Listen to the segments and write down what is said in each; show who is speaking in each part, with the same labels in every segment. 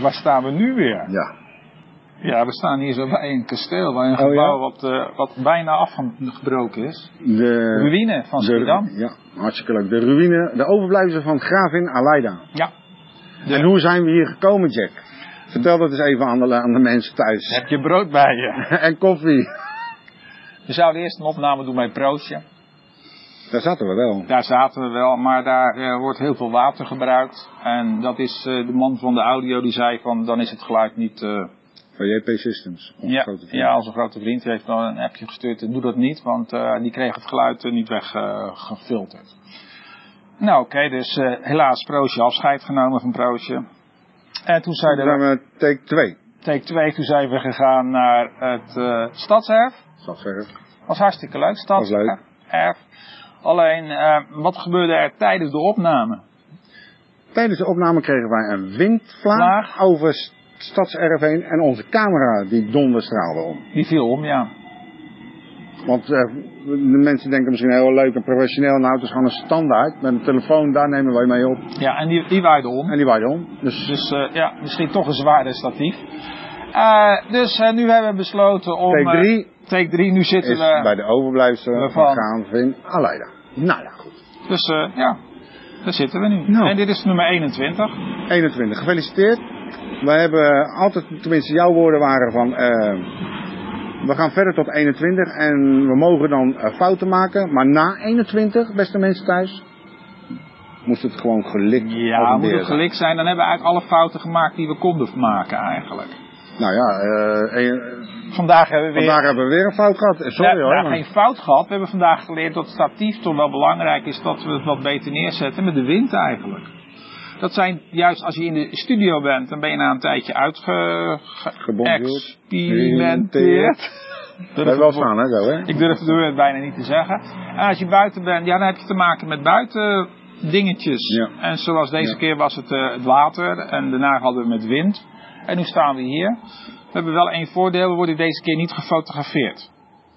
Speaker 1: waar staan we nu weer?
Speaker 2: Ja.
Speaker 1: Ja, we staan hier zo bij een kasteel, bij een gebouw wat, eh, wat bijna afgebroken is.
Speaker 2: De,
Speaker 1: Ruïne van Schiedam.
Speaker 2: De, ja, hartstikke leuk. De ruïne, de overblijfselen van gravin Aleida.
Speaker 1: Ja. Ja.
Speaker 2: En hoe zijn we hier gekomen, Jack? Vertel dat eens even aan de, aan de mensen thuis.
Speaker 1: Heb je brood bij je?
Speaker 2: en koffie.
Speaker 1: We zouden eerst een opname doen bij Proostje.
Speaker 2: Daar zaten we wel.
Speaker 1: Daar zaten we wel, maar daar eh, wordt heel veel water gebruikt. En dat is eh, de man van de audio die zei van dan is het geluid niet... eh,
Speaker 2: Van JP Systems. onze
Speaker 1: ja,
Speaker 2: grote vriend.
Speaker 1: ja, onze grote vriend heeft dan een appje gestuurd. Doe dat niet, want eh, die kreeg het geluid eh, niet weggefilterd. nou oké, dus eh, helaas Proostje afscheid genomen van Proostje. En toen
Speaker 2: Dan
Speaker 1: zei
Speaker 2: zijn
Speaker 1: de
Speaker 2: we eh, take 2.
Speaker 1: take 2, toen zijn we gegaan naar het eh Stadserf.
Speaker 2: Zal ik zeggen.
Speaker 1: was hartstikke leuk, stad.
Speaker 2: Was leuk.
Speaker 1: Erg. Alleen, eh, wat gebeurde er tijdens de opname?
Speaker 2: Tijdens de opname kregen wij een windvlaag
Speaker 1: Vlaag.
Speaker 2: over s- Stadserf heen. En onze camera die donderstraalde om.
Speaker 1: Die viel om, ja.
Speaker 2: Want eh, de mensen denken misschien heel leuk en professioneel. Nou, het is gewoon een standaard. Met een telefoon, daar nemen wij mee op.
Speaker 1: Ja, en die, die waaide om.
Speaker 2: En die waaide om. Dus
Speaker 1: Dus eh, ja, misschien toch een zwaarder statief. Eh, dus eh, nu hebben we besloten om...
Speaker 2: take
Speaker 1: eh,
Speaker 2: 3
Speaker 1: take 3, nu zitten
Speaker 2: is
Speaker 1: we...
Speaker 2: bij de overblijfselen van
Speaker 1: Waarvan?
Speaker 2: Gaanvin Aleida. Nou ja, goed.
Speaker 1: Dus eh, ja, daar zitten we nu.
Speaker 2: Nou.
Speaker 1: En dit is nummer 21.
Speaker 2: 21, gefeliciteerd. We hebben altijd, tenminste jouw woorden waren van... eh, we gaan verder tot 21 en we mogen dan eh, fouten maken. Maar na 21, beste mensen thuis, moest het gewoon gelikt
Speaker 1: Ja, Oh, moet
Speaker 2: geattendeerd
Speaker 1: het gelikt zijn. Dan hebben we eigenlijk alle fouten gemaakt die we konden maken eigenlijk.
Speaker 2: zijn. Nou ja, eh, eh,
Speaker 1: Vandaag hebben we weer...
Speaker 2: vandaag hebben we weer een fout gehad. Eh, Sorry
Speaker 1: we hebben
Speaker 2: hoor.
Speaker 1: daar
Speaker 2: maar-
Speaker 1: geen fout gehad. We hebben vandaag geleerd dat statief toch wel belangrijk is dat we het wat beter neerzetten met de wind eigenlijk. Dat zijn juist als je in de studio bent, dan ben je na een tijdje
Speaker 2: Gebonjourd.
Speaker 1: uitgeëxperimenteerd.
Speaker 2: Dat hebben we wel staan hè, zo hè.
Speaker 1: Ik durf de het bijna niet te zeggen. En als je buiten bent, ja, dan heb je te maken met buiten dingetjes.
Speaker 2: Ja.
Speaker 1: En zoals deze
Speaker 2: Ja.
Speaker 1: keer was het eh, het water en daarna hadden we met wind. En nu staan we hier. We hebben wel één voordeel, we worden deze keer niet gefotografeerd.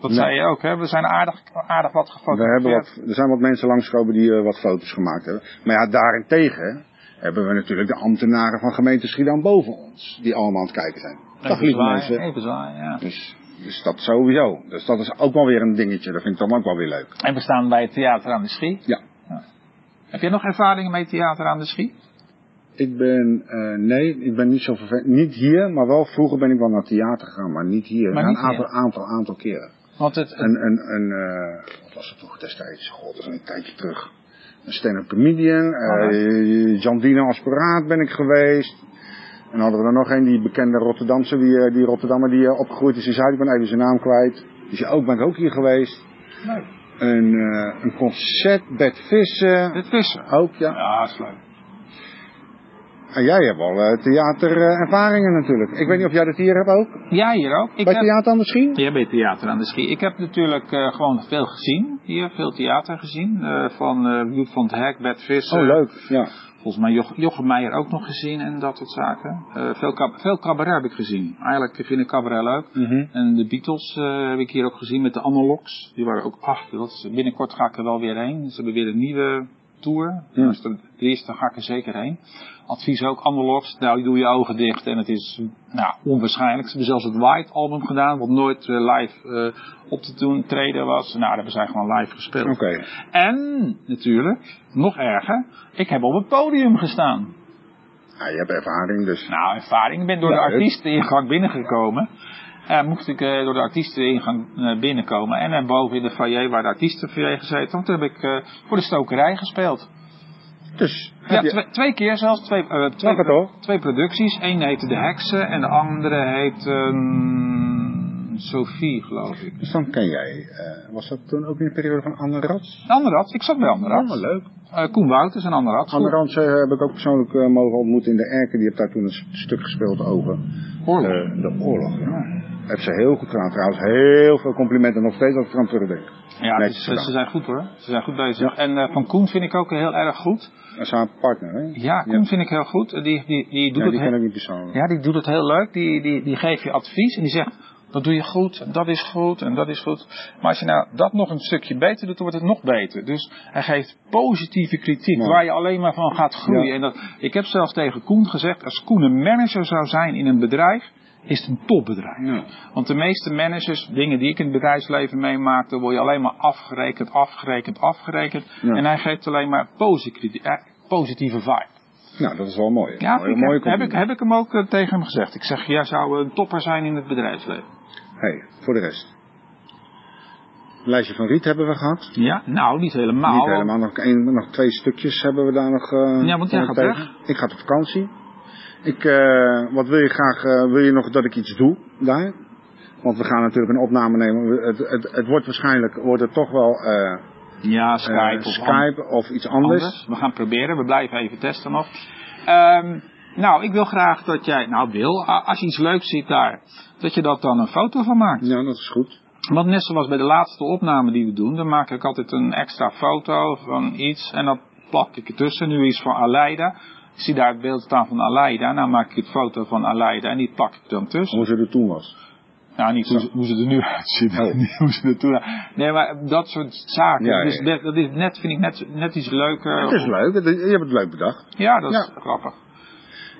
Speaker 1: Dat
Speaker 2: Nee.
Speaker 1: zei je ook, hè? We zijn aardig, aardig wat
Speaker 2: We
Speaker 1: gefotografeerd.
Speaker 2: hebben wat, er zijn wat mensen langsgekomen die eh, wat foto's gemaakt hebben. Maar ja, daarentegen hebben we natuurlijk de ambtenaren van gemeente Schiedam boven ons. Die allemaal aan het kijken zijn. Dag
Speaker 1: Even
Speaker 2: lieve
Speaker 1: zwaaien,
Speaker 2: mensen.
Speaker 1: Even zwaaien, ja.
Speaker 2: Dus, dus dat sowieso. Dus dat is ook wel weer een dingetje. Dat vind ik dan ook wel weer leuk.
Speaker 1: En we staan bij het Theater aan de Schie.
Speaker 2: Ja.
Speaker 1: Heb jij nog ervaring met Theater aan de Schie?
Speaker 2: Ik ben, eh, nee, ik ben niet zo vervelend. Niet hier, maar wel vroeger ben ik wel naar het theater gegaan. Maar niet hier.
Speaker 1: Maar
Speaker 2: Na
Speaker 1: niet
Speaker 2: een
Speaker 1: hier.
Speaker 2: aantal, aantal, aantal keren.
Speaker 1: Want het, het-
Speaker 2: Een, een, een eh, wat was het toch destijds? God, dat is een tijdje terug. Een stand-up comedian.
Speaker 1: Oh,
Speaker 2: eh Jandino als paraat ben ik geweest. En hadden we er nog een, die bekende Rotterdamse, die, eh, die Rotterdammer die eh, opgegroeid is in Zuid. Ik ben even zijn naam kwijt. Dus ja, ook ben ik ook hier geweest.
Speaker 1: leuk.
Speaker 2: Een, eh, een concert, Bert Vissen.
Speaker 1: Dit vissen.
Speaker 2: Ook, ja.
Speaker 1: Ja, is leuk.
Speaker 2: En jij hebt al theaterervaringen natuurlijk. Ik weet niet of jij dat hier hebt ook.
Speaker 1: Jij hier ook? Ik
Speaker 2: Bij
Speaker 1: heb-
Speaker 2: theater misschien?
Speaker 1: Ja, bij theater aan de schie. Ik heb natuurlijk eh, gewoon veel gezien hier, veel theater gezien. eh, van eh Joep van het Hek, Bert Visser.
Speaker 2: Oh, leuk. Ja.
Speaker 1: Volgens mij Joch, Jochem Meijer ook nog gezien en dat soort zaken. Eh, veel, cab- veel cabaret heb ik gezien. Eigenlijk vind ik cabaret leuk. En de Beatles eh, heb ik hier ook gezien met de Analogs. Die waren ook acht. Dat is- binnenkort ga ik er wel weer heen. Ze hebben weer een nieuwe tour.
Speaker 2: Ja.
Speaker 1: Dus de, de eerste ga ik er zeker heen. Advies ook, Analogs. Nou, je doe je ogen dicht en het is nou, onwaarschijnlijk. Ze hebben zelfs het White album gedaan, wat nooit eh, live eh, op te doen, treden was. Nou, daar hebben zij gewoon live gespeeld.
Speaker 2: Oké.
Speaker 1: En, natuurlijk, nog erger, ik heb op het podium gestaan.
Speaker 2: Ja, je hebt ervaring, dus.
Speaker 1: Nou, ervaring. Ik ben door
Speaker 2: Ja, het-
Speaker 1: de artiesteningang binnengekomen. Eh moest ik eh, door de artiesteningang eh, binnenkomen. En eh, boven in de foyer waar de artiestenfoyer gezeten. Want toen heb ik eh, voor de stokerij gespeeld.
Speaker 2: Dus,
Speaker 1: Ja,
Speaker 2: heb je-
Speaker 1: twe- twee keer zelfs. Twee, eh, twee,
Speaker 2: het toch?
Speaker 1: twee producties. Eén heette De Heksen en de andere heet ehm, Sophie, geloof ik.
Speaker 2: Dus dan ken jij, eh, was dat toen ook in de periode van Anne Rats?
Speaker 1: Anderad, ik zat bij Anderad.
Speaker 2: Ja, leuk.
Speaker 1: Eh, Koen Wouters en Anderad.
Speaker 2: Anne Rats eh, heb ik ook persoonlijk eh, mogen ontmoeten in de Erken. Die heeft daar toen een s- stuk gespeeld over
Speaker 1: Oorlog.
Speaker 2: eh, de oorlog. Ja. Heeft ze heel goed gedaan trouwens. Heel veel complimenten nog steeds dat ik eraan terugdenk.
Speaker 1: Ja, het
Speaker 2: netjes
Speaker 1: is-
Speaker 2: gedaan.
Speaker 1: ze zijn goed hoor. Ze zijn goed bezig. En eh, van Koen vind ik ook heel erg goed.
Speaker 2: Dat is haar partner, hè?
Speaker 1: Ja, Koen vind ik heel goed. Die, die, die doet
Speaker 2: Ja,
Speaker 1: het
Speaker 2: die
Speaker 1: heel-
Speaker 2: ken ik niet persoonlijk.
Speaker 1: Ja, die doet het heel leuk. Die, die, die geeft je advies en die zegt: Dat doe je goed, en dat is goed, en dat is goed. Maar als je nou dat nog een stukje beter doet, dan wordt het nog beter. Dus hij geeft positieve kritiek,
Speaker 2: Ja.
Speaker 1: waar je alleen maar van gaat groeien.
Speaker 2: Ja.
Speaker 1: En dat, ik heb zelfs tegen Koen gezegd, als Koen een manager zou zijn in een bedrijf, is het een topbedrijf.
Speaker 2: Ja.
Speaker 1: Want de meeste managers, dingen die ik in het bedrijfsleven meemaak, daar word je alleen maar afgerekend, afgerekend, afgerekend.
Speaker 2: Ja.
Speaker 1: En hij geeft alleen maar positieve, eh, positieve vibe.
Speaker 2: Nou, dat is wel mooi.
Speaker 1: Ja,
Speaker 2: Een
Speaker 1: vind ik,
Speaker 2: mooie
Speaker 1: heb, heb ik, heb
Speaker 2: compliment.
Speaker 1: ik hem ook eh, tegen hem gezegd. Ik zeg, jij zou een topper zijn in het bedrijfsleven.
Speaker 2: Hey, voor de rest. Lijstje van Riet hebben we gehad.
Speaker 1: Ja, nou, niet helemaal.
Speaker 2: Niet helemaal, nog, één, nog twee stukjes hebben we daar nog. eh,
Speaker 1: Ja, want jij
Speaker 2: van
Speaker 1: gaat
Speaker 2: tegen. Ik ga op vakantie. Ik, eh, wat wil je graag, eh, wil je nog dat ik iets doe daar? Want we gaan natuurlijk een opname nemen. We- Het, het, het wordt waarschijnlijk, wordt het toch wel eh, eh,
Speaker 1: Ja, Eh, Skype of an-
Speaker 2: Skype of iets anders.
Speaker 1: anders. We gaan proberen, we blijven even testen nog. Ehm, nou, ik wil graag dat jij, nou wil, a- als je iets leuks ziet daar, dat je dat dan een foto van maakt.
Speaker 2: Ja, dat is goed.
Speaker 1: Want net zoals bij de laatste opname die we doen, dan maak ik altijd een extra foto van iets en dan plak ik ertussen. Nu iets van Aleida. Ik zie daar het beeld staan van Aleida. Nou maak ik het foto van Aleida en die plak ik dan tussen.
Speaker 2: Hoe ze er toen was.
Speaker 1: Nou, niet hoe, ze- hoe ze er nu uitzien.
Speaker 2: Oh.
Speaker 1: niet hoe ze er toen uit- Nee, maar dat soort zaken.
Speaker 2: Ja, ja,
Speaker 1: Dus
Speaker 2: ja.
Speaker 1: dat, dat is net, vind ik net, net iets leuker.
Speaker 2: Het is leuk, het- je hebt het leuk bedacht.
Speaker 1: Ja, dat is
Speaker 2: Ja.
Speaker 1: grappig.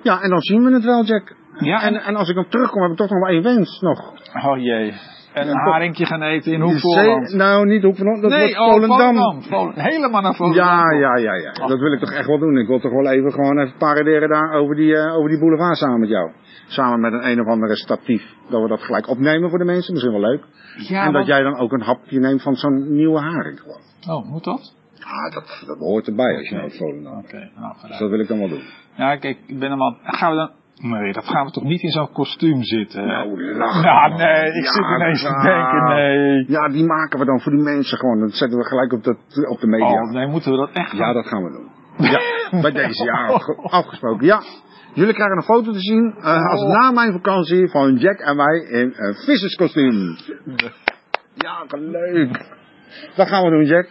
Speaker 2: Ja, en dan zien we het wel, Jack.
Speaker 1: Ja,
Speaker 2: En,
Speaker 1: en,
Speaker 2: en als ik hem terugkom, heb ik toch nog wel één wens nog.
Speaker 1: oh jee. En een
Speaker 2: Ja,
Speaker 1: haringje gaan eten in
Speaker 2: Zee-
Speaker 1: Hoekvoorland.
Speaker 2: Nou, niet Hoekvoorland, dat wordt
Speaker 1: Nee, oh,
Speaker 2: Volendam.
Speaker 1: Volendam. Vol- Helemaal naar Volendam.
Speaker 2: Ja, ja, ja, ja. Dat wil ik toch echt wel doen. Ik wil toch wel even gewoon even paraderen daar over die, eh, over die boulevard samen met jou. Samen met een een of andere statief. Dat we dat gelijk opnemen voor de mensen, misschien wel leuk.
Speaker 1: Ja,
Speaker 2: en dat
Speaker 1: want-
Speaker 2: jij dan ook een hapje neemt van zo'n nieuwe haring gewoon.
Speaker 1: Oh, moet dat?
Speaker 2: Ah, dat, dat hoort erbij als je naar Volendam.
Speaker 1: Oké, nou,
Speaker 2: Dus
Speaker 1: vooruit.
Speaker 2: dat wil ik dan wel doen.
Speaker 1: Ja, kijk, ik ben helemaal... Gaan we dan... Nee, dat gaan we toch niet in zo'n kostuum zitten? hè?
Speaker 2: Nou, lach.
Speaker 1: Ja,
Speaker 2: man.
Speaker 1: nee, ik
Speaker 2: Ja,
Speaker 1: zit ineens te
Speaker 2: nou.
Speaker 1: denken, nee.
Speaker 2: Ja, die maken we dan voor die mensen gewoon. Dat zetten we gelijk op, dat, op de media.
Speaker 1: Oh, nee, moeten we dat echt
Speaker 2: Ja,
Speaker 1: gaan- Oh.
Speaker 2: dat gaan we doen. Ja, bij deze ja afge- afgesproken. Ja, jullie krijgen een foto te zien eh, als
Speaker 1: Oh.
Speaker 2: na mijn vakantie van Jack en mij in een visserskostuum. Ja, wat leuk. Dat gaan we doen, Jack.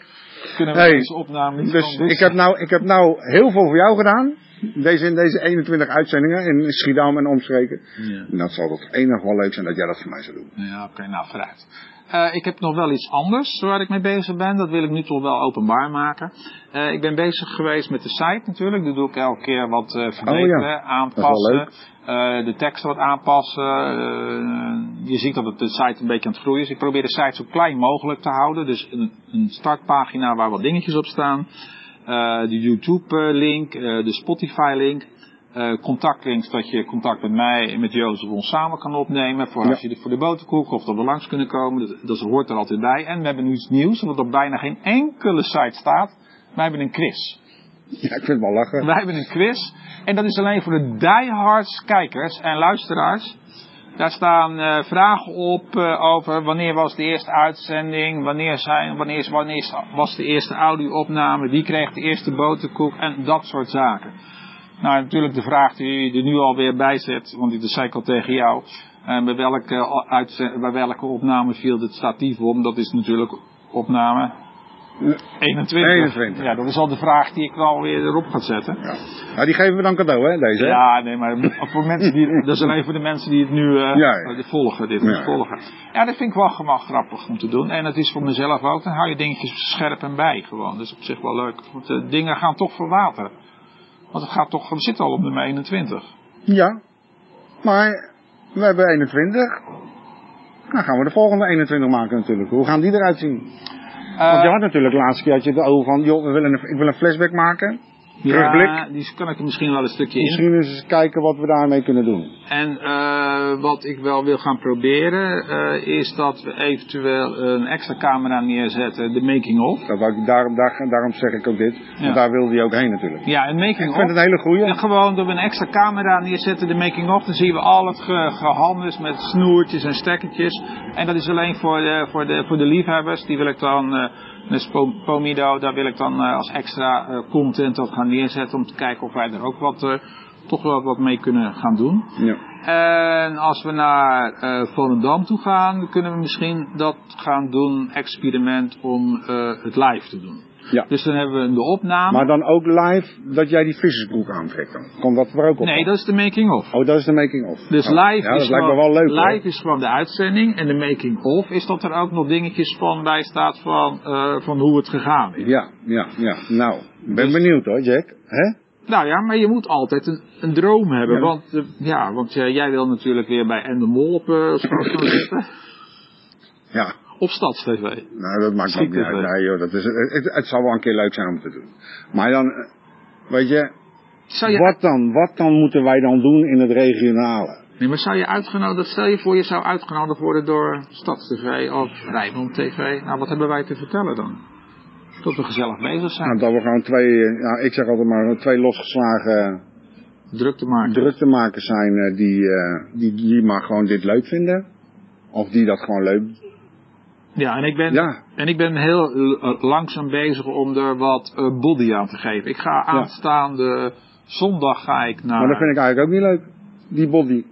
Speaker 1: Kunnen we
Speaker 2: Hey,
Speaker 1: deze opname niet
Speaker 2: Dus
Speaker 1: gewoon dit
Speaker 2: ik heb, nou, ik heb nou heel veel voor jou gedaan. Deze, in deze 21 uitzendingen in Schiedam en omstreken.
Speaker 1: Ja.
Speaker 2: En dat zal toch enig wel leuk zijn dat jij dat voor mij zou doen.
Speaker 1: Ja, oké, nou vooruit. Eh, ik heb nog wel iets anders waar ik mee bezig ben. Dat wil ik nu toch wel openbaar maken. Eh, ik ben bezig geweest met de site natuurlijk. Daar doe ik elke keer wat eh verbeteren,
Speaker 2: ja. Dat is wel
Speaker 1: aanpassen. eh, de tekst wat aanpassen. Eh, je ziet dat het de site een beetje aan het groeien is. Ik probeer de site zo klein mogelijk te houden. Dus een, een startpagina waar wat dingetjes op staan. Eh, de YouTube-link, de Spotify-link. eh, contactlinks dat je contact met mij en met Jozef ons samen kan opnemen. Voor
Speaker 2: Ja.
Speaker 1: als je de, voor de boterkoek of dat we langs kunnen komen. Dat, dat hoort er altijd bij. En we hebben nu iets nieuws, wat op bijna geen enkele site staat. Wij hebben een quiz.
Speaker 2: Ja, ik vind het wel lachen.
Speaker 1: Wij hebben een quiz. En dat is alleen voor de diehards kijkers en luisteraars. Daar staan eh, vragen op eh, over wanneer was de eerste uitzending, wanneer, zijn, wanneer, is- wanneer is- was de eerste audio-opname, wie kreeg de eerste boterkoek en dat soort zaken. Nou, natuurlijk de vraag die je er nu alweer bij zet, want die zei ik al tegen jou. eh, bij, welke, eh, uitze- bij welke opname viel het statief om? Dat is natuurlijk opname 21.
Speaker 2: 21.
Speaker 1: Ja, dat is al de vraag die ik alweer erop ga zetten.
Speaker 2: Ja. Nou, die geven we dan cadeau, hè, deze. hè?
Speaker 1: Ja, nee, maar voor mensen die, dat is alleen voor de mensen die het nu eh,
Speaker 2: Ja, ja.
Speaker 1: volgen. Dit,
Speaker 2: Ja.
Speaker 1: volgen. Ja, dat vind ik wel gewoon grappig om te doen. En het is voor mezelf ook. Dan hou je dingetjes scherp en bij gewoon. Dat is op zich wel leuk. Want de dingen gaan toch verwateren. Want het gaat toch, we zitten al op nummer 21.
Speaker 2: Ja, maar we hebben 21. Dan gaan we de volgende 21 maken natuurlijk. Hoe gaan die eruit zien? Want je
Speaker 1: Eh,
Speaker 2: had natuurlijk de laatste keer had je het over van, joh, we willen een, ik wil een flashback maken.
Speaker 1: Ja,
Speaker 2: terugblik.
Speaker 1: die kan ik er misschien wel een stukje in.
Speaker 2: Misschien eens kijken wat we daarmee kunnen doen.
Speaker 1: En eh, wat ik wel wil gaan proberen eh, is dat we eventueel een extra camera neerzetten. De making-of.
Speaker 2: Dat wou ik, daarom, daar, daarom zeg ik ook dit.
Speaker 1: Ja.
Speaker 2: Want daar wilde hij ook heen natuurlijk.
Speaker 1: Ja, een
Speaker 2: Ik
Speaker 1: making-of.
Speaker 2: vind het een hele goeie.
Speaker 1: En gewoon door een extra camera neerzetten, de making-of, dan zien we al het ge gehandels met snoertjes en stekkertjes. En dat is alleen voor de, voor de, voor de liefhebbers. Die wil ik dan, eh dus Pom- Pomido, daar wil ik dan eh, als extra eh, content op gaan neerzetten. Om te kijken of wij er ook wat, eh, toch wel wat mee kunnen gaan doen.
Speaker 2: Ja.
Speaker 1: En als we naar eh Volendam toe gaan, dan kunnen we misschien dat gaan doen, experiment om eh, het live te doen.
Speaker 2: Ja.
Speaker 1: Dus dan hebben we de opname.
Speaker 2: Maar dan ook live dat jij die vissersbroek aantrekt dan. Komt dat er ook op?
Speaker 1: nee, dat is de making-of.
Speaker 2: Oh, dat is de making-of.
Speaker 1: Dus
Speaker 2: Oh,
Speaker 1: live,
Speaker 2: ja, dat
Speaker 1: is,
Speaker 2: lijkt me
Speaker 1: gewoon,
Speaker 2: wel leuk. hoor.
Speaker 1: live is gewoon de uitzending. En de making-of is dat er ook nog dingetjes van bij staat van, eh, van hoe het gegaan is.
Speaker 2: Ja, ja, ja. Nou, ben
Speaker 1: Dus-
Speaker 2: benieuwd hoor, Jack. Hè?
Speaker 1: Nou ja, maar je moet altijd een, een droom hebben.
Speaker 2: Ja.
Speaker 1: Want, eh, ja, want eh, jij wil natuurlijk weer bij Endemol op eh, straks gaan zitten.
Speaker 2: Ja,
Speaker 1: Op StadsTV.
Speaker 2: nou dat maakt ook
Speaker 1: Schiet
Speaker 2: niet
Speaker 1: het,
Speaker 2: uit.
Speaker 1: hè?
Speaker 2: Nee, joh, dat is, het, het zal wel een keer leuk zijn om te doen. Maar dan, eh, weet je,
Speaker 1: Zou je,
Speaker 2: wat, dan, wat dan moeten wij dan doen in het regionale?
Speaker 1: nee, maar zou je uitgenodigd, stel je voor je zou uitgenodigd worden door StadsTV of Rijnmond TV. Nou, wat hebben wij te vertellen dan? Dat we gezellig bezig zijn.
Speaker 2: Nou, dat we gewoon twee, eh, nou, ik zeg altijd maar, twee losgeslagen
Speaker 1: Druk te maken.
Speaker 2: druktemakers zijn eh, die, eh, die, die maar gewoon dit leuk vinden. Of die dat gewoon leuk
Speaker 1: Ja, en ik ben,
Speaker 2: Ja.
Speaker 1: en ik ben heel eh, langzaam bezig om er wat eh, body aan te geven. Ik ga aanstaande zondag ga ik naar...
Speaker 2: Maar dat vind ik eigenlijk ook niet leuk, die body.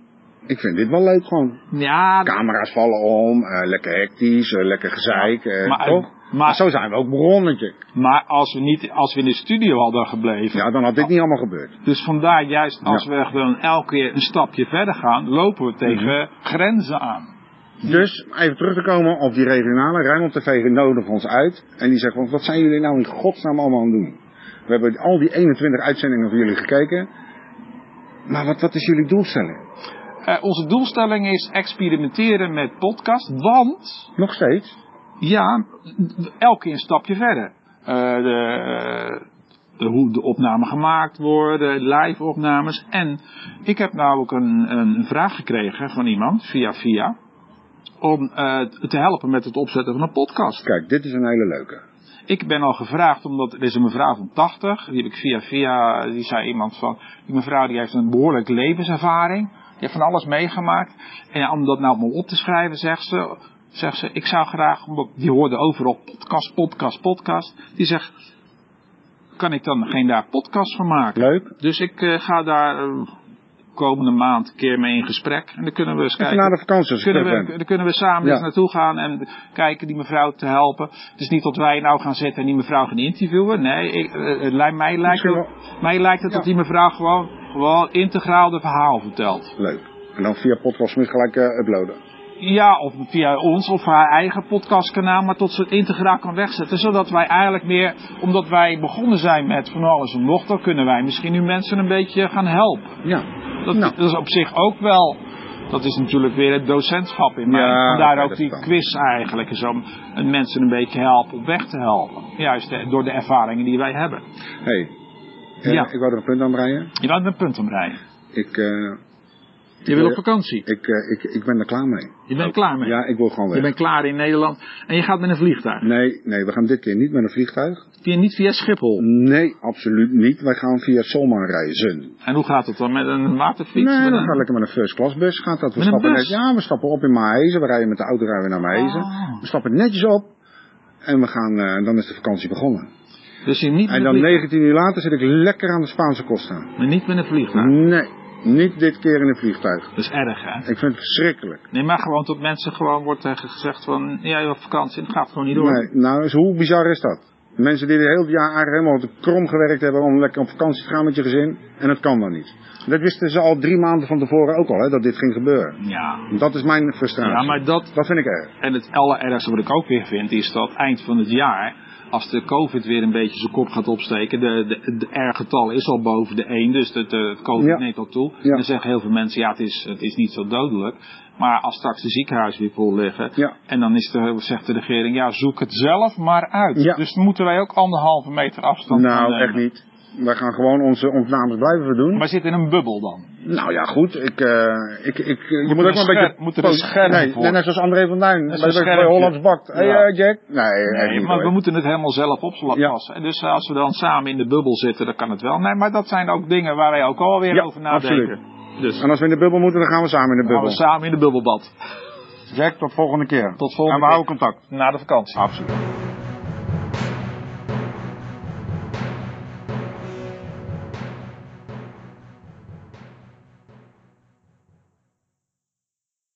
Speaker 2: Ik vind dit wel leuk gewoon.
Speaker 1: Ja,
Speaker 2: Camera's vallen om, eh, lekker hectisch, eh, lekker gezeik, eh,
Speaker 1: Maar-
Speaker 2: toch?
Speaker 1: maar-
Speaker 2: Maar zo zijn we ook begonnen.
Speaker 1: maar als we, niet, als we in de studio hadden gebleven.
Speaker 2: Ja, dan had dit niet allemaal gebeurd.
Speaker 1: Dus vandaar juist als
Speaker 2: Ja.
Speaker 1: we gewoon elke keer een stapje verder gaan, lopen we tegen
Speaker 2: Mhm.
Speaker 1: grenzen aan.
Speaker 2: Dus, even terug te komen op die regionale. Rijnmond TV nodig ons uit. En die zegt van, wat zijn jullie nou in godsnaam allemaal aan het doen? We hebben al die 21 uitzendingen van jullie gekeken. Maar wat, wat is jullie doelstelling?
Speaker 1: Eh, onze doelstelling is experimenteren met podcast, want
Speaker 2: Nog steeds?
Speaker 1: Ja, elke keer een stapje verder. Eh, de, eh, de- hoe de opnamen gemaakt worden, live opnames. En ik heb nou ook een, een vraag gekregen van iemand, via via, om eh, te helpen met het opzetten van een podcast.
Speaker 2: Kijk, dit is een hele leuke.
Speaker 1: Ik ben al gevraagd, omdat er is een mevrouw van 80, die heb ik via via, die zei iemand van, die mevrouw die heeft een behoorlijk levenservaring, die heeft van alles meegemaakt. En om dat nou allemaal op te schrijven, zegt ze, zegt ze, ik zou graag, omdat die hoorde overal podcast, podcast, podcast, die zegt, kan ik dan geen daar podcast van maken?
Speaker 2: Leuk.
Speaker 1: Dus ik eh, ga daar eh, komende maand een keer mee in gesprek en dan kunnen we eens
Speaker 2: Even
Speaker 1: kijken.
Speaker 2: na de vakantie als je
Speaker 1: Kunnen
Speaker 2: terug
Speaker 1: we,
Speaker 2: bent.
Speaker 1: dan kunnen we samen
Speaker 2: Ja.
Speaker 1: eens naartoe gaan en kijken die mevrouw te helpen. Het is niet dat wij nou gaan zitten en die mevrouw gaan interviewen. Nee, ik, eh, het lijkt- mij, lijkt
Speaker 2: Misschien
Speaker 1: het, mij lijkt het
Speaker 2: Ja.
Speaker 1: dat die mevrouw gewoon, gewoon integraal de verhaal vertelt.
Speaker 2: Leuk. En dan via podcast Smit gelijk eh, uploaden.
Speaker 1: Ja, of via ons of haar eigen podcastkanaal, maar tot ze het integraal kan wegzetten. Zodat wij eigenlijk meer, omdat wij begonnen zijn met van alles en nog, dan kunnen wij misschien nu mensen een beetje gaan helpen.
Speaker 2: Ja.
Speaker 1: Dat,
Speaker 2: Nou.
Speaker 1: dat is op zich ook wel. Dat is natuurlijk weer het docentschap in mij.
Speaker 2: Ja,
Speaker 1: Vandaar
Speaker 2: oké,
Speaker 1: ook
Speaker 2: dat
Speaker 1: die
Speaker 2: kan.
Speaker 1: quiz eigenlijk. Is om het mensen een beetje helpen op weg te helpen. Juist eh, door de ervaringen die wij hebben.
Speaker 2: Hey. eh,
Speaker 1: Ja.
Speaker 2: Ik wou er een punt aan breien.
Speaker 1: Je laat een punt omrijden.
Speaker 2: Ik, eh,
Speaker 1: Je wil op vakantie.
Speaker 2: ik, eh, ik, ik ben er klaar mee.
Speaker 1: Je bent klaar mee.
Speaker 2: Ja, ik wil gewoon
Speaker 1: Je
Speaker 2: weg.
Speaker 1: bent klaar in Nederland. En je gaat met een vliegtuig.
Speaker 2: Nee, nee, we gaan dit keer niet met een vliegtuig.
Speaker 1: Die- Niet via Schiphol.
Speaker 2: Nee, absoluut niet. Wij gaan via Solman reizen.
Speaker 1: En hoe gaat het dan? Met een waterfiets?
Speaker 2: Nee,
Speaker 1: Met
Speaker 2: dan
Speaker 1: een-
Speaker 2: gaat lekker met een first class bus. Gaat dat. We
Speaker 1: Met een
Speaker 2: stappen
Speaker 1: bus?
Speaker 2: net, ja, we stappen op in Mahezen. We rijden met de auto rijden we naar Mahezen.
Speaker 1: Ah.
Speaker 2: We stappen netjes op. En we gaan, eh, dan is de vakantie begonnen.
Speaker 1: Dus je niet met,
Speaker 2: En
Speaker 1: een
Speaker 2: dan
Speaker 1: vlieg-
Speaker 2: 19 uur later zit ik lekker aan de Spaanse kost aan.
Speaker 1: maar niet met een vliegtuig.
Speaker 2: Nee, niet dit keer in een vliegtuig.
Speaker 1: Dat is erg hè?
Speaker 2: Ik vind het verschrikkelijk.
Speaker 1: Nee, maar gewoon tot mensen gewoon wordt eh, gezegd van... Ja, je hebt vakantie. Dat gaat gewoon niet door.
Speaker 2: Nee, nou, dus hoe bizar is dat? Mensen die het hele jaar eigenlijk helemaal op de krom gewerkt hebben om lekker op vakantie te gaan met je gezin. En dat kan dan niet. Dat wisten ze al drie maanden van tevoren ook al, hè, dat dit ging gebeuren.
Speaker 1: Ja,
Speaker 2: Dat is mijn frustratie.
Speaker 1: Ja, maar dat,
Speaker 2: Dat vind ik erg.
Speaker 1: en het allerergste wat ik ook weer vind, is dat eind van het jaar, als de COVID weer een beetje zijn kop gaat opsteken, de, de, de R-getal is al boven de 1, dus de, de COVID
Speaker 2: Ja.
Speaker 1: neemt al toe.
Speaker 2: Ja.
Speaker 1: Dan zeggen heel veel mensen, ja, het is, het is niet zo dodelijk. Maar als straks de ziekenhuizen weer vol liggen,
Speaker 2: Ja.
Speaker 1: en dan is de, zegt de regering, ja, zoek het zelf maar uit.
Speaker 2: Ja.
Speaker 1: Dus dan moeten wij ook anderhalve meter afstand gaan
Speaker 2: Nou,
Speaker 1: nemen.
Speaker 2: echt niet. Wij gaan gewoon onze ontnames blijven verdoen.
Speaker 1: Maar zit in een bubbel dan.
Speaker 2: Nou ja, goed. Ik, eh, ik, ik, je moet
Speaker 1: er
Speaker 2: ook
Speaker 1: een
Speaker 2: maar een
Speaker 1: scherm-
Speaker 2: beetje...
Speaker 1: moet er een
Speaker 2: posi-
Speaker 1: scherm
Speaker 2: nee,
Speaker 1: voor.
Speaker 2: nee, net zoals André van Duin.
Speaker 1: is
Speaker 2: Bij,
Speaker 1: een
Speaker 2: bij- bij
Speaker 1: schermpje.
Speaker 2: Hollands Bakt. Hé,
Speaker 1: Ja.
Speaker 2: eh, Jack. Nee, echt
Speaker 1: Nee,
Speaker 2: niet
Speaker 1: maar we
Speaker 2: hoor.
Speaker 1: moeten het helemaal zelf op zullen
Speaker 2: Ja.
Speaker 1: passen. En Dus eh, als we dan samen in de bubbel zitten, dan kan het wel. Nee, maar dat zijn ook dingen waar wij ook alweer
Speaker 2: Ja,
Speaker 1: over nadenken. Dus
Speaker 2: En als we in de bubbel moeten, dan gaan we samen in de
Speaker 1: gaan we
Speaker 2: bubbel.
Speaker 1: samen in de bubbelbad.
Speaker 2: Jack, tot volgende keer.
Speaker 1: Tot volgende
Speaker 2: En we
Speaker 1: keer.
Speaker 2: houden contact.
Speaker 1: Na de vakantie. Absoluut.